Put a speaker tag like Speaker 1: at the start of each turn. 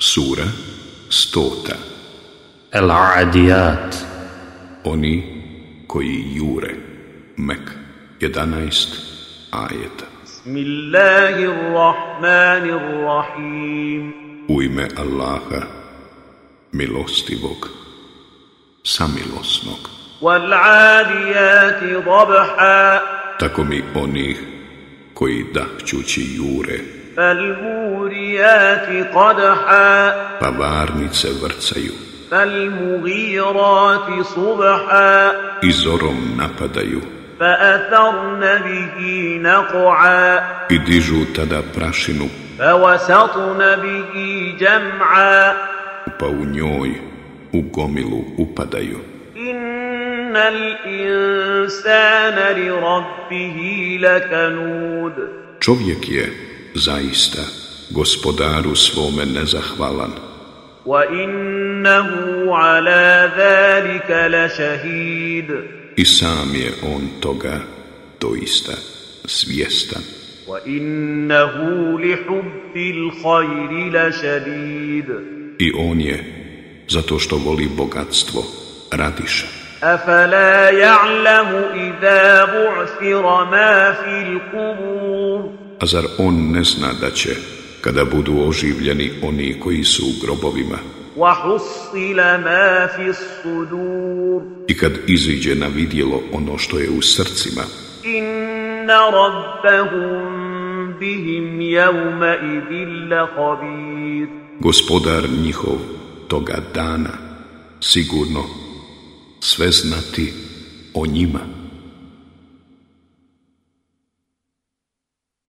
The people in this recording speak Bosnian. Speaker 1: Sura 100.
Speaker 2: العاديات
Speaker 1: Oni koji jure. Mek 11 ajeta.
Speaker 3: بسم الله الرحمن الرحيم
Speaker 1: U ime Allaha, milostivog, samilosnog.
Speaker 3: والعاديات ضبحا
Speaker 1: Tako mi onih koji dahćući jure,
Speaker 3: فالموريات قدحا
Speaker 1: pa varnice vrcaju
Speaker 3: فالمغيرات صبحا
Speaker 1: i zorom napadaju
Speaker 3: فأثرن به نقعا
Speaker 1: i dižu tada prašinu,
Speaker 3: فوسطن به جمعا
Speaker 1: pa u njoj u gomilu upadaju.
Speaker 3: إن الإنسان لربه لكنود
Speaker 1: Čovjek je zaista gospodaru svome nezahvalan
Speaker 3: وإنه على ذلك لشهيد
Speaker 1: i sam je on toga doista svjestan
Speaker 3: وإنه لحب الخير لشديد
Speaker 1: i on je zato što voli bogatstvo radiša
Speaker 3: أفلا يعلم إذا بعثر ما في القبور
Speaker 1: a zar on ne zna da će kada budu oživljeni oni koji su u grobovima
Speaker 3: وحصل ما في الصدور
Speaker 1: i kad iziđe na vidjelo ono što je u srcima
Speaker 3: إن ربهم بهم يومئذ لخبير
Speaker 1: gospodar njihov toga dana sigurno sve znati o njima